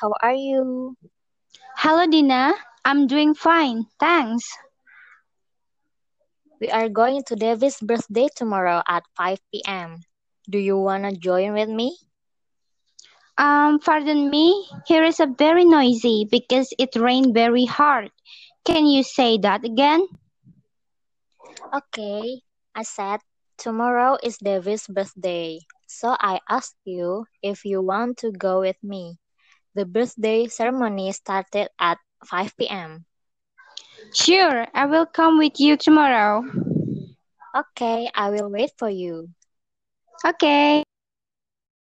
How are you? Hello, Dina. I'm doing fine, thanks. We are going to David's birthday tomorrow at 5 p.m. Do you wanna join with me? Um, pardon me, here is a very noisy because it rained very hard. Can you say that again? Okay, I said tomorrow is David's birthday, so I asked you if you want to go with me. The birthday ceremony started at 5 p.m. Sure, I will come with you tomorrow. Okay, I will wait for you. Okay.